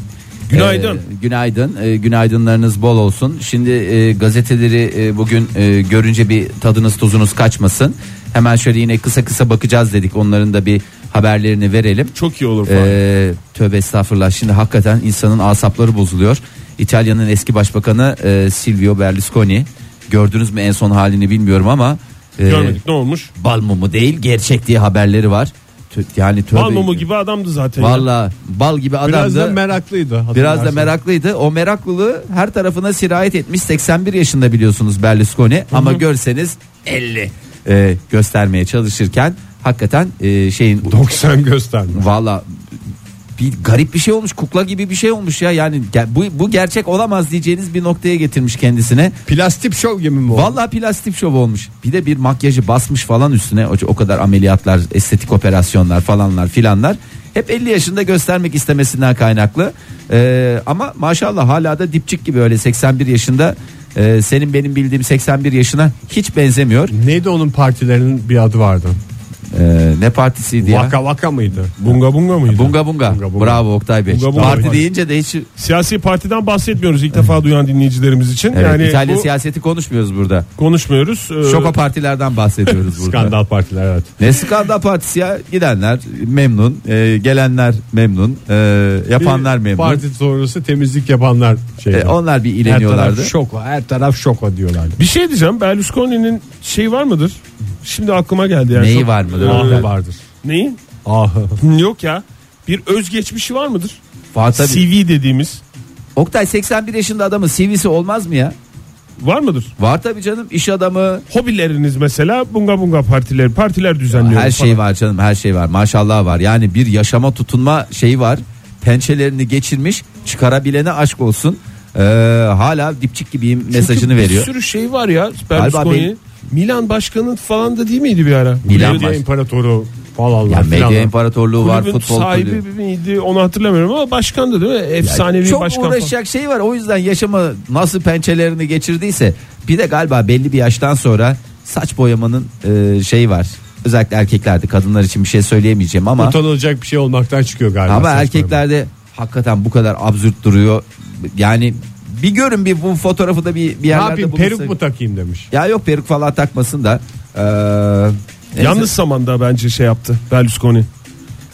Speaker 4: Günaydın.
Speaker 3: Ee, günaydın. Ee, günaydınlarınız bol olsun. Şimdi e, gazeteleri e, bugün e, görünce bir tadınız tuzunuz kaçmasın. Hemen şöyle yine kısa kısa bakacağız dedik. Onların da bir haberlerini verelim.
Speaker 4: Çok iyi olur falan.
Speaker 3: Ee, tövbe estağfurullah. Şimdi hakikaten insanın asapları bozuluyor. İtalya'nın eski başbakanı e, Silvio Berlusconi. Gördünüz mü en son halini bilmiyorum ama e,
Speaker 4: Görmedik ne olmuş?
Speaker 3: bal mumu değil gerçek diye haberleri var. Tö- yani tövbe.
Speaker 4: Bal mumu gibi adamdı zaten. ya.
Speaker 3: Valla bal gibi adamdı.
Speaker 2: Biraz da meraklıydı.
Speaker 3: Biraz da
Speaker 2: hatırlarsan.
Speaker 3: meraklıydı. O meraklılığı her tarafına sirayet etmiş. 81 yaşında biliyorsunuz Berlusconi ama görseniz 50 e, göstermeye çalışırken hakikaten e, şeyin
Speaker 2: 90 göstermiş.
Speaker 3: valla bir garip bir şey olmuş. Kukla gibi bir şey olmuş ya. Yani ge- bu bu gerçek olamaz diyeceğiniz bir noktaya getirmiş kendisine.
Speaker 2: Plastik şov gibi mi oldu?
Speaker 3: Vallahi plastik şov olmuş. Bir de bir makyajı basmış falan üstüne. O, o kadar ameliyatlar, estetik operasyonlar falanlar filanlar. Hep 50 yaşında göstermek istemesinden kaynaklı. Ee, ama maşallah hala da dipçik gibi öyle 81 yaşında. Ee, senin benim bildiğim 81 yaşına hiç benzemiyor.
Speaker 2: Neydi onun partilerinin bir adı vardı.
Speaker 3: Ee, ne partisiydi ya?
Speaker 2: Vaka vaka mıydı?
Speaker 4: Bunga bunga mıydı?
Speaker 3: Bunga bunga.
Speaker 2: Bunga bunga.
Speaker 3: Bravo Oktay Bey.
Speaker 4: Bunga bunga.
Speaker 3: Parti deyince de hiç
Speaker 4: Siyasi partiden bahsetmiyoruz ilk defa duyan dinleyicilerimiz için.
Speaker 3: evet,
Speaker 4: yani
Speaker 3: İtalya
Speaker 4: bu
Speaker 3: siyaseti konuşmuyoruz burada.
Speaker 4: konuşmuyoruz. Ee,
Speaker 3: Şoka partilerden bahsediyoruz burada.
Speaker 2: Skandal partiler evet.
Speaker 3: Ne skandal partisi ya gidenler memnun e, gelenler memnun e, yapanlar
Speaker 2: Bir
Speaker 3: memnun
Speaker 2: Parti sonrası temizlik yapanlar şey.
Speaker 3: E, onlar bir
Speaker 2: her taraf
Speaker 3: ileniyorlardı
Speaker 2: şoka, her taraf şoka diyorlardı.
Speaker 4: Bir şey diyeceğim Berlusconi'nin şeyi var mıdır? Şimdi aklıma geldi. Yani
Speaker 3: Neyi
Speaker 4: Çok-
Speaker 3: var mıdır?
Speaker 4: Ee,
Speaker 2: Ahı vardır.
Speaker 4: neyi?
Speaker 2: Ahı.
Speaker 4: Yok ya. Bir özgeçmişi var mıdır?
Speaker 3: Var tabii.
Speaker 4: CV dediğimiz
Speaker 3: Oktay 81 yaşında adamın CV'si olmaz mı ya
Speaker 4: var mıdır?
Speaker 3: var tabi canım iş adamı
Speaker 4: Hobileriniz mesela bunga bunga partiler partiler düzenliyor.
Speaker 3: her şey var canım her şey var maşallah var yani bir yaşama tutunma şeyi var pençelerini geçirmiş çıkarabilene aşk olsun E, hala dipçik gibiyim mesajını veriyor
Speaker 4: Bir sürü şey var ya
Speaker 3: Galiba
Speaker 4: Berlusconi.
Speaker 3: benim-
Speaker 4: Milan başkanı falan da değil miydi bir ara?
Speaker 3: Milan
Speaker 2: Medya
Speaker 3: var.
Speaker 2: imparatoru falan
Speaker 3: ya
Speaker 2: var.
Speaker 3: medya
Speaker 2: filan.
Speaker 3: imparatorluğu var
Speaker 4: Kulübün
Speaker 3: futbol
Speaker 4: sahibi
Speaker 3: kulübü
Speaker 4: miydi onu hatırlamıyorum ama başkan da değil mi? Efsanevi
Speaker 3: çok
Speaker 4: başkan. falan.
Speaker 3: uğraşacak şey var. O yüzden yaşama nasıl pençelerini geçirdiyse bir de galiba belli bir yaştan sonra saç boyamanın e, şeyi var. Özellikle erkeklerde kadınlar için bir şey söyleyemeyeceğim ama
Speaker 2: Utanılacak bir şey olmaktan çıkıyor galiba.
Speaker 3: ama
Speaker 2: saçma.
Speaker 3: erkeklerde hakikaten bu kadar absürt duruyor. Yani bir görün bir bu fotoğrafı da bir bir
Speaker 2: ne
Speaker 3: yerlerde
Speaker 2: yapayım
Speaker 3: bulursak-
Speaker 2: peruk mu takayım demiş.
Speaker 3: Ya yok peruk falan takmasın da. e, neyse.
Speaker 4: Yalnız zamanda bence şey yaptı Berlusconi.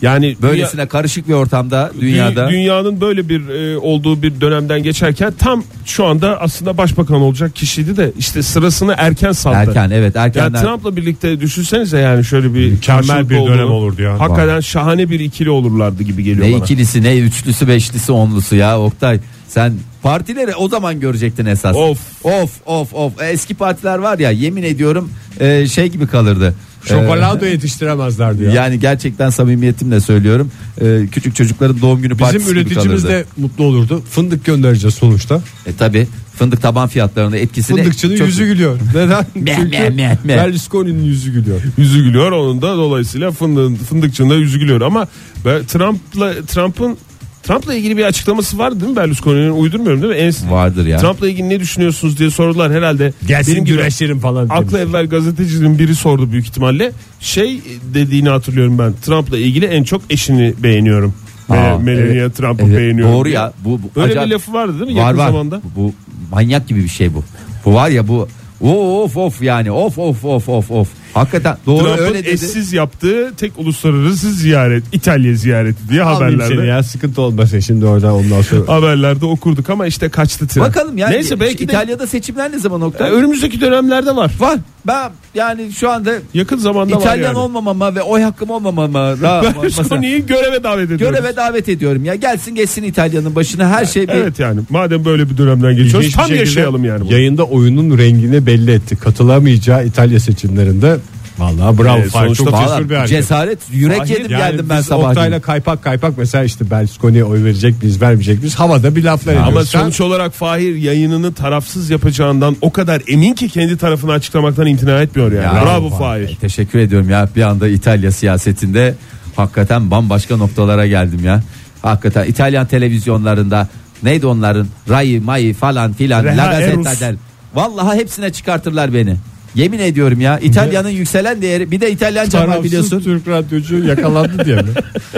Speaker 4: Yani
Speaker 3: böylesine karışık bir ortamda dünyada.
Speaker 4: Dü- Dünyanın böyle bir e, olduğu bir dönemden geçerken tam şu anda aslında başbakan olacak kişiydi de işte sırasını erken sandı.
Speaker 3: erken evet
Speaker 4: Yani
Speaker 3: erkenden.
Speaker 4: Trump'la birlikte düşünsenize yani şöyle bir
Speaker 2: Mükemmel
Speaker 4: karşılıklı
Speaker 2: bir dönem
Speaker 4: olduğunu.
Speaker 2: olurdu ya.
Speaker 4: Hakikaten şahane bir ikili olurlardı gibi geliyor
Speaker 3: Ne
Speaker 4: bana.
Speaker 3: ikilisi ne üçlüsü beşlisi onlusu ya Oktay. Sen partileri o zaman görecektin esas.
Speaker 4: Of.
Speaker 3: Of of of. Eski partiler var ya yemin ediyorum e, şey gibi kalırdı.
Speaker 2: Şokolado yetiştiremezlerdi
Speaker 3: E,
Speaker 2: ya.
Speaker 3: yani gerçekten samimiyetimle söylüyorum. E, küçük çocukların doğum günü
Speaker 2: Bizim
Speaker 3: partisi gibi
Speaker 2: üreticimiz
Speaker 3: kalırdı.
Speaker 2: de mutlu olurdu. Fındık göndereceğiz sonuçta.
Speaker 3: E, tabi fındık taban fiyatlarının etkisini.
Speaker 2: Fındıkçının
Speaker 3: çok-
Speaker 2: yüzü gülüyor. Neden?
Speaker 3: Meh, meh,
Speaker 2: Çünkü
Speaker 3: meh, meh.
Speaker 2: Berlusconi'nin yüzü gülüyor.
Speaker 4: Yüzü gülüyor onun da dolayısıyla fındığın, fındıkçının da yüzü gülüyor ama ben Trump'la Trump'ın Trump'la ilgili bir açıklaması vardı değil mi Berlusconi'nin uydurmuyorum değil mi? En,
Speaker 3: Vardır ya.
Speaker 4: Trump'la ilgili ne düşünüyorsunuz diye sordular herhalde.
Speaker 2: Gelsin
Speaker 4: Benim gibi-
Speaker 2: güreşlerim falan.
Speaker 4: Aklı
Speaker 2: demiş.
Speaker 4: evvel gazetecinin biri sordu büyük ihtimalle. Şey dediğini hatırlıyorum ben. Trump'la ilgili en çok eşini beğeniyorum.
Speaker 3: Aa,
Speaker 4: Mel- Melania
Speaker 3: evet,
Speaker 4: Trump'ı
Speaker 3: evet,
Speaker 4: beğeniyorum.
Speaker 3: Doğru
Speaker 4: diye.
Speaker 3: ya. Bu, bu
Speaker 4: Böyle
Speaker 3: acayip-
Speaker 4: bir lafı vardı değil mi
Speaker 3: Var
Speaker 4: yakın
Speaker 3: var.
Speaker 4: zamanda?
Speaker 3: Bu manyak gibi bir şey bu. Bu var ya bu of of yani of of of of of. Hakikaten doğru
Speaker 4: Trump'ın
Speaker 3: öyle dedi.
Speaker 4: eşsiz yaptığı tek uluslararası ziyaret İtalya ziyareti diye
Speaker 2: Almayayım seni
Speaker 4: haberlerde
Speaker 2: ya sıkıntı olmasın şimdi orada ondan sonra.
Speaker 4: haberlerde okurduk ama işte kaçtı tren.
Speaker 3: Bakalım yani
Speaker 4: Neyse belki de
Speaker 3: İtalya'da seçimler ne zaman
Speaker 4: Ya,
Speaker 3: Oktay?
Speaker 4: önümüzdeki dönemlerde var.
Speaker 3: var. Ben yani şu anda
Speaker 4: Yakın zamanda var
Speaker 3: İtalyan
Speaker 4: yani.
Speaker 3: olmamama ve oy hakkım olmamama ra-
Speaker 4: Berlusconi'yi göreve davet ediyoruz.
Speaker 3: göreve davet ediyorum ya. Gelsin geçsin İtalya'nın başına her şey bir
Speaker 4: Evet yani madem böyle bir dönemden geçiyoruz
Speaker 2: İlginç bir
Speaker 4: tam
Speaker 2: şekilde
Speaker 4: yaşayalım yani. bunu.
Speaker 2: Yayında oyunun rengini belli etti. Katılamayacağı İtalya seçimlerinde Vallahi bravo.
Speaker 4: Ee,
Speaker 2: Fahir,
Speaker 4: sonuçta
Speaker 2: çok
Speaker 4: Valla
Speaker 2: E, cesur bir hareket.
Speaker 3: cesaret yürek
Speaker 4: Hayır,
Speaker 3: yedim
Speaker 2: Ah, Yani
Speaker 3: geldim ben
Speaker 2: biz
Speaker 3: sabah.
Speaker 2: Oktay'la kaypak kaypak mesela işte Berlusconi'ye oy verecek biz vermeyecek biz havada bir laflar ediyoruz.
Speaker 4: Ama
Speaker 2: Sen-
Speaker 4: sonuç olarak Fahir yayınını tarafsız yapacağından o kadar emin ki kendi tarafını açıklamaktan imtina etmiyor yani.
Speaker 3: Ya,
Speaker 4: Bravo
Speaker 2: Fahir.
Speaker 4: Fahir.
Speaker 3: Teşekkür ediyorum ya bir anda İtalya siyasetinde hakikaten bambaşka noktalara geldim ya. Hakikaten İtalyan televizyonlarında neydi onların Rai, Mai falan filan
Speaker 4: Reha
Speaker 3: La Gazzetta
Speaker 4: Erus.
Speaker 3: del. Vallahi hepsine çıkartırlar beni. Yemin ediyorum ya İtalya'nın yükselen değeri bir de İtalyanca var
Speaker 2: Tarafsız
Speaker 3: biliyorsun.
Speaker 2: Türk radyocu yakalandı diye mi?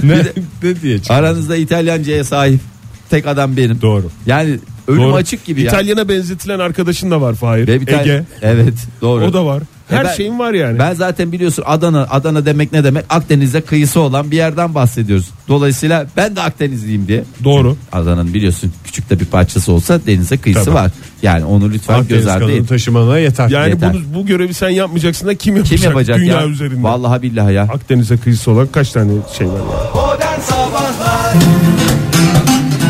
Speaker 2: ne, ne diye çıktı?
Speaker 3: Aranızda İtalyanca'ya sahip tek adam benim.
Speaker 2: Doğru.
Speaker 3: Yani ölüm
Speaker 4: Doğru.
Speaker 3: açık gibi ya.
Speaker 4: İtalyana benzetilen arkadaşın da var Fahir.
Speaker 3: Ve bir tane-
Speaker 4: Ege.
Speaker 3: Evet doğru.
Speaker 4: O da var.
Speaker 3: Ya
Speaker 4: Her
Speaker 3: E ben-
Speaker 4: şeyin var yani.
Speaker 3: Ben zaten biliyorsun Adana Adana demek ne demek? Akdeniz'de kıyısı olan bir yerden bahsediyoruz. Dolayısıyla ben de Akdenizliyim diye.
Speaker 4: Doğru.
Speaker 3: Adana'nın biliyorsun küçük de bir parçası olsa denize kıyısı
Speaker 2: Tabii.
Speaker 3: var. Yani onu lütfen
Speaker 2: Akdeniz
Speaker 3: göz ardı
Speaker 2: kanalını
Speaker 3: et.
Speaker 2: taşımana yeter.
Speaker 4: Yani
Speaker 3: Yeter.
Speaker 4: bunu bu görevi sen yapmayacaksın da kim yapacak?
Speaker 3: Kim yapacak
Speaker 4: Dünya
Speaker 3: ya?
Speaker 4: üzerinde.
Speaker 3: Vallahi billahi ya.
Speaker 4: Akdeniz'e kıyısı olan kaç tane şey var yani.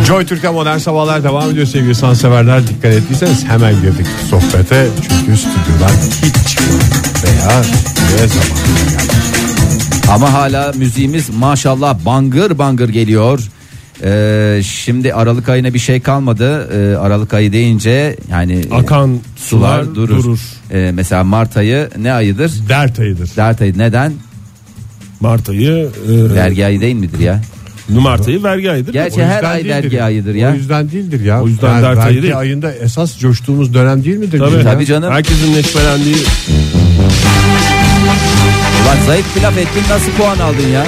Speaker 2: Joy Türk'e modern sabahlar devam ediyor sevgili sanseverler. Dikkat ettiyseniz hemen girdik sohbete. Çünkü stüdyodan hiç çıkmadı. Veya ne zaman
Speaker 3: Ama hala müziğimiz maşallah bangır bangır geliyor. Ee, şimdi Aralık ayına bir şey kalmadı. Ee, Aralık ayı deyince yani e,
Speaker 4: Akan
Speaker 3: sular durur. Ee, mesela Mart ayı ne ayıdır?
Speaker 2: dert ayıdır.
Speaker 3: Dert ayı neden?
Speaker 4: Mart ayı, e,
Speaker 3: Vergi ayı değil midir ya?
Speaker 4: Mart ayı vergi ayıdır.
Speaker 3: Gerçi
Speaker 2: O
Speaker 3: her
Speaker 2: yüzden
Speaker 3: ay
Speaker 2: değildir
Speaker 3: vergi
Speaker 2: ya.
Speaker 3: ayıdır ya.
Speaker 2: O yüzden değildir ya.
Speaker 4: O yüzden dert ayı
Speaker 2: vergi
Speaker 4: değil.
Speaker 2: ayında esas coştuğumuz dönem değil midir?
Speaker 4: Tabii.
Speaker 2: bizim ya?
Speaker 3: Tabii canım.
Speaker 4: Herkesin neşvelendiği
Speaker 3: Ulan zayıf bir laf ettin nasıl puan aldın ya?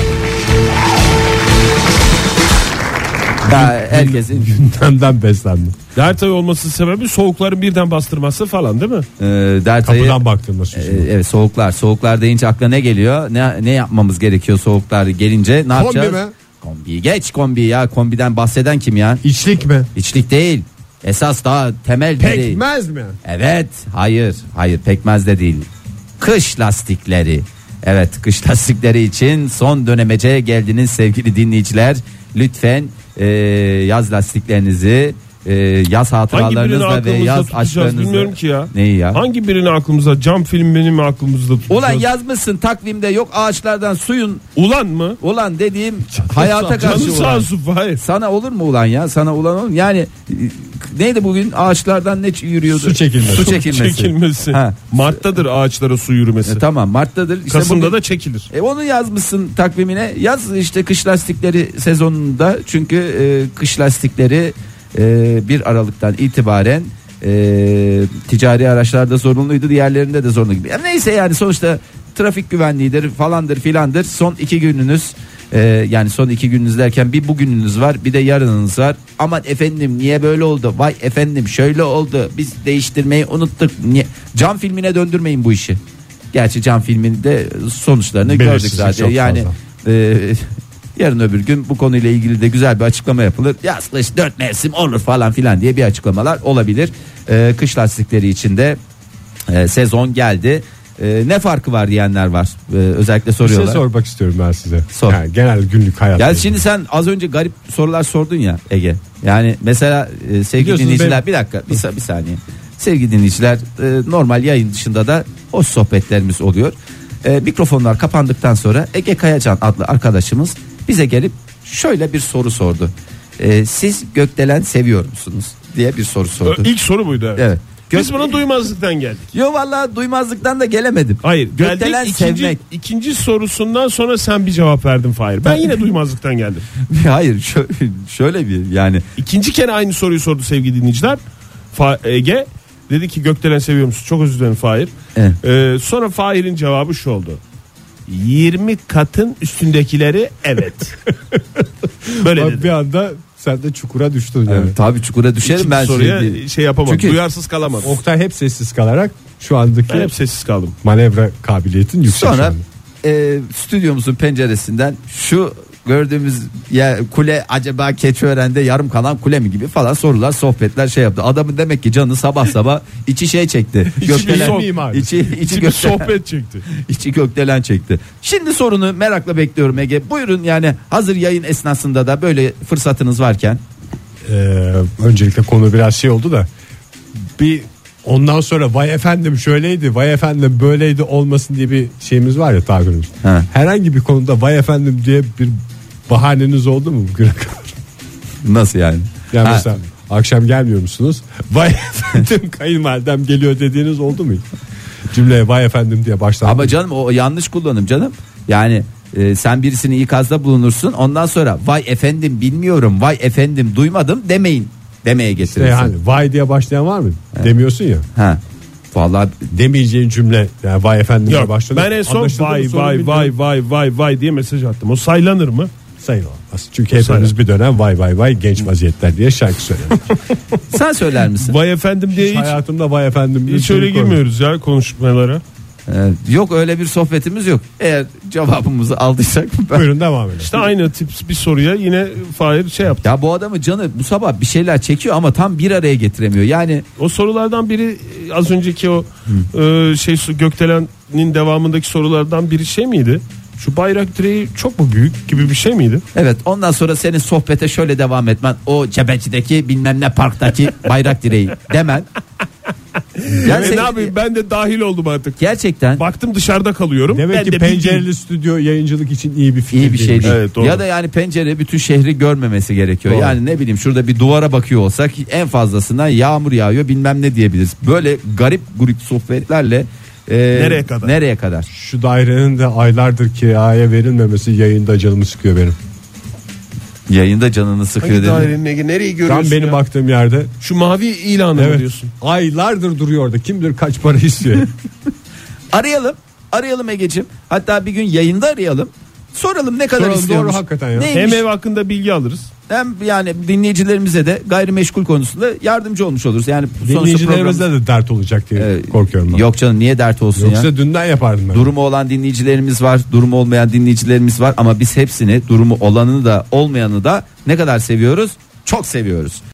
Speaker 3: Ya herkesin
Speaker 2: Gündemden beslenme.
Speaker 4: dert ayı olması sebebi soğukların birden bastırması falan değil mi?
Speaker 3: e, dert ayı
Speaker 2: Kapıdan baktın nasıl?
Speaker 3: e, evet soğuklar. Soğuklar deyince akla ne geliyor? Ne ne yapmamız gerekiyor soğuklar gelince? Ne
Speaker 2: Kombi
Speaker 3: yapacağız?
Speaker 2: mi?
Speaker 3: Kombi geç kombi ya. Kombiden bahseden kim ya?
Speaker 2: İçlik mi?
Speaker 3: İçlik değil. Esas daha temel değil.
Speaker 2: Pekmez mi?
Speaker 3: Evet, hayır, hayır pekmez de değil. Kış lastikleri. Evet, kış lastikleri için son dönemece geldiniz sevgili dinleyiciler. Lütfen e, yaz lastiklerinizi, e, yaz
Speaker 4: Hangi birini
Speaker 3: hatıralarınızla ve
Speaker 4: aklımızda
Speaker 3: yaz
Speaker 4: tutacağız
Speaker 3: aşklarınızla.
Speaker 4: bilmiyorum ki ya.
Speaker 3: Neyi ya?
Speaker 4: Hangi birini aklımıza cam film benim aklımızda tutacağız.
Speaker 3: Ulan yazmışsın takvimde yok ağaçlardan suyun
Speaker 4: Ulan mı?
Speaker 3: ulan dediğim hayata
Speaker 4: Canı
Speaker 3: karşı
Speaker 4: sağ
Speaker 3: ulan.
Speaker 4: olsun Fahir.
Speaker 3: Sana olur mu ulan ya? Sana ulan olur mu? Yani e, neydi bugün ağaçlardan ne yürüyordu?
Speaker 2: Su çekilmesi.
Speaker 3: Su çekilmesi.
Speaker 4: Çekilmesi.
Speaker 3: Ha.
Speaker 4: Mart'tadır ağaçlara su yürümesi.
Speaker 3: E, tamam Mart'tadır. İşte
Speaker 4: Kasım'da
Speaker 3: bugün-
Speaker 4: da çekilir.
Speaker 3: E onu yazmışsın takvimine. Yaz işte kış lastikleri sezonunda çünkü e, kış lastikleri e, 1 Aralık'tan itibaren e, ticari araçlarda zorunluydu, diğerlerinde de zorunlu gibi. Ya neyse yani sonuçta trafik güvenliğidir falandır filandır. Son iki gününüz e, yani son iki gününüz derken bir bugününüz var bir de yarınınız var. Aman efendim niye böyle oldu? Vay efendim şöyle oldu. Biz değiştirmeyi unuttuk. Niye? Cam filmine döndürmeyin bu işi. Gerçi cam filminde sonuçlarını
Speaker 2: Belirsizlik
Speaker 3: gördük
Speaker 2: çok
Speaker 3: zaten.
Speaker 2: fazla.
Speaker 3: Yani e, yarın öbür gün bu konuyla ilgili de güzel bir açıklama yapılır. Yaz kış dört mevsim olur falan filan diye bir açıklamalar olabilir. E, kış lastikleri içinde sezon geldi. E, ne farkı var diyenler var. E, özellikle
Speaker 2: Bir şey
Speaker 3: soruyorlar.
Speaker 2: sormak istiyorum ben size.
Speaker 3: Sor.
Speaker 2: Yani genel günlük hayat.
Speaker 3: Ya şimdi sen az önce garip sorular sordun ya Ege. Yani mesela e, sevgili
Speaker 2: Biliyorsunuz
Speaker 3: dinleyiciler
Speaker 2: benim-
Speaker 3: bir dakika bir, sa- bir saniye. Sevgili dinleyiciler e, normal yayın dışında da hoş sohbetlerimiz oluyor. E, mikrofonlar kapandıktan sonra Ege Kayacan adlı arkadaşımız bize gelip şöyle bir soru sordu. E, siz gökdelen seviyor musunuz diye bir soru sordu.
Speaker 4: İlk soru buydu. Evet.
Speaker 3: Evet.
Speaker 4: Biz bunu duymazlıktan geldik.
Speaker 3: Yo vallahi duymazlıktan da gelemedim.
Speaker 4: Hayır.
Speaker 3: Gökdelen
Speaker 4: geldik ikinci,
Speaker 3: sevmek.
Speaker 4: ikinci sorusundan sonra sen bir cevap verdin Fahir. Ben yine duymazlıktan geldim.
Speaker 3: Hayır şö- şöyle bir yani
Speaker 4: İkinci kere aynı soruyu sordu sevgili dinleyiciler. Fa- Ege dedi ki Gökdelen seviyor musun? Çok özür dilerim Fahir.
Speaker 3: Evet.
Speaker 4: Ee, sonra Fahir'in cevabı şu oldu. 20 katın üstündekileri evet. Böyle
Speaker 2: Bak
Speaker 4: dedi.
Speaker 2: bir anda sen de çukura düştün. Yani.
Speaker 3: tabii çukura düşerim
Speaker 4: İkinci
Speaker 3: ben
Speaker 4: soruya
Speaker 3: şimdi.
Speaker 4: şey yapamadım.
Speaker 3: Çünkü-
Speaker 4: duyarsız kalamadım.
Speaker 2: Oktay hep sessiz kalarak şu andaki
Speaker 4: Ben hep sessiz kaldım.
Speaker 2: manevra kabiliyetin yüksek. şu
Speaker 3: Sonra
Speaker 2: anda.
Speaker 3: e, stüdyomuzun penceresinden şu gördüğümüz ya kule acaba Keçiören'de yarım kalan kule mi gibi falan sorular sohbetler şey yaptı. Adamın demek ki canı sabah sabah içi şey çekti.
Speaker 2: bir
Speaker 3: gökdelen
Speaker 2: soh- mimar.
Speaker 3: içi içi
Speaker 4: İçi bir
Speaker 3: gökdelen,
Speaker 4: sohbet çekti.
Speaker 3: içi gökdelen çekti. Şimdi sorunu merakla bekliyorum Ege. Buyurun yani hazır yayın esnasında da böyle fırsatınız varken
Speaker 2: Ee, öncelikle konu biraz şey oldu da bir Ondan sonra vay efendim şöyleydi vay efendim böyleydi olmasın diye bir şeyimiz var ya tabirimiz.
Speaker 3: Ha.
Speaker 2: Herhangi bir konuda vay efendim diye bir bahaneniz oldu mu bugüne kadar?
Speaker 3: Nasıl yani?
Speaker 2: Yani
Speaker 3: Ha,
Speaker 2: mesela akşam gelmiyor musunuz? Vay efendim kayınvalidem geliyor dediğiniz oldu mu? hiç? Cümleye vay efendim diye başlandı.
Speaker 3: Ama canım o yanlış kullanım canım. Yani e, sen birisini ikazda bulunursun. Ondan sonra vay efendim bilmiyorum, vay efendim duymadım demeyin demeye
Speaker 2: E
Speaker 3: getirirsin.
Speaker 2: yani vay diye başlayan var mı? Demiyorsun ya.
Speaker 3: Ha. Vallahi
Speaker 2: Demeyeceğin cümle yani vay efendim diye
Speaker 4: Yok,
Speaker 2: başladı.
Speaker 4: ben en son
Speaker 2: Anlaşıldı mı
Speaker 4: vay
Speaker 2: sorun
Speaker 4: vay
Speaker 2: bilmiyorum.
Speaker 4: vay vay vay vay diye mesaj attım. O saylanır mı?
Speaker 2: sayılamaz. Çünkü hepimiz
Speaker 4: Sayılamaz.
Speaker 2: bir dönem vay vay vay genç vaziyetler diye şarkı söyledik.
Speaker 3: sen söyler misin?
Speaker 4: Vay efendim diye hiç, hiç,
Speaker 2: Hayatımda şey vay efendim. diye
Speaker 4: öyle
Speaker 2: çocuk olmadı.
Speaker 4: girmiyoruz ya konuşmalara.
Speaker 3: Ee, yok öyle bir sohbetimiz yok. Eğer cevabımızı aldıysak ben...
Speaker 2: Buyurun devam edin.
Speaker 4: İşte aynı tip bir soruya yine Fahir şey yaptı.
Speaker 3: Ya bu adamı canı bu sabah bir şeyler çekiyor ama tam bir araya getiremiyor. Yani
Speaker 4: O sorulardan biri e, az önceki o e, şey su Gökdelen'in devamındaki sorulardan biri şey miydi? Şu bayrak direği çok mu büyük gibi bir şey miydi?
Speaker 3: evet ondan sonra senin sohbete şöyle devam etmen. O Cebeci'deki bilmem ne parktaki bayrak direği demen. Yani
Speaker 4: E, ne yapayım ben de dahil oldum artık.
Speaker 3: Gerçekten
Speaker 4: Baktım dışarıda kalıyorum.
Speaker 2: Demek
Speaker 4: ben
Speaker 2: ki
Speaker 4: de
Speaker 2: pencereli
Speaker 4: bildiğim-
Speaker 2: stüdyo yayıncılık için iyi bir fikir
Speaker 3: iyi bir şey
Speaker 2: değilmiş.
Speaker 3: değil.
Speaker 4: Evet, doğru.
Speaker 3: ya da yani pencere bütün şehri görmemesi gerekiyor.
Speaker 2: Doğru.
Speaker 3: Yani ne bileyim şurada bir duvara bakıyor olsak en fazlasına yağmur yağıyor bilmem ne diyebiliriz. Böyle garip grup sohbetlerle e,
Speaker 4: Nereye kadar?
Speaker 3: Nereye kadar?
Speaker 2: Şu dairenin de aylardır kiraya verilmemesi yayında canımı sıkıyor benim.
Speaker 3: Yayında canını sıkıyor
Speaker 4: Hangi
Speaker 3: dedi.
Speaker 4: dairenin nereyi
Speaker 2: Tam
Speaker 4: görüyorsun
Speaker 2: benim
Speaker 4: ya?
Speaker 2: baktığım yerde.
Speaker 4: Şu mavi ilanı mı
Speaker 2: Evet.
Speaker 4: diyorsun?
Speaker 2: Aylardır duruyor orada. Kim bilir kaç para istiyor.
Speaker 3: Arayalım. Arayalım Ege'cim. Hatta bir gün yayında arayalım. Soralım ne kadar
Speaker 2: Soralım,
Speaker 3: istiyormuş.
Speaker 2: doğru, hakikaten ya.
Speaker 3: Neymiş?
Speaker 4: Hem
Speaker 3: Hem,
Speaker 4: ev hakkında bilgi alırız.
Speaker 3: yani dinleyicilerimize de gayrimeşgul konusunda yardımcı olmuş oluruz. Yani sonuçta
Speaker 2: Dinleyicilerimize de dert olacak diye
Speaker 3: program- Ee,
Speaker 2: korkuyorum ben.
Speaker 3: Yok canım niye dert olsun ya?
Speaker 2: Yoksa dünden yapardım ben.
Speaker 3: Durumu olan dinleyicilerimiz var, durumu olmayan dinleyicilerimiz var ama biz hepsini, durumu olanını da olmayanı da ne kadar seviyoruz? Çok seviyoruz.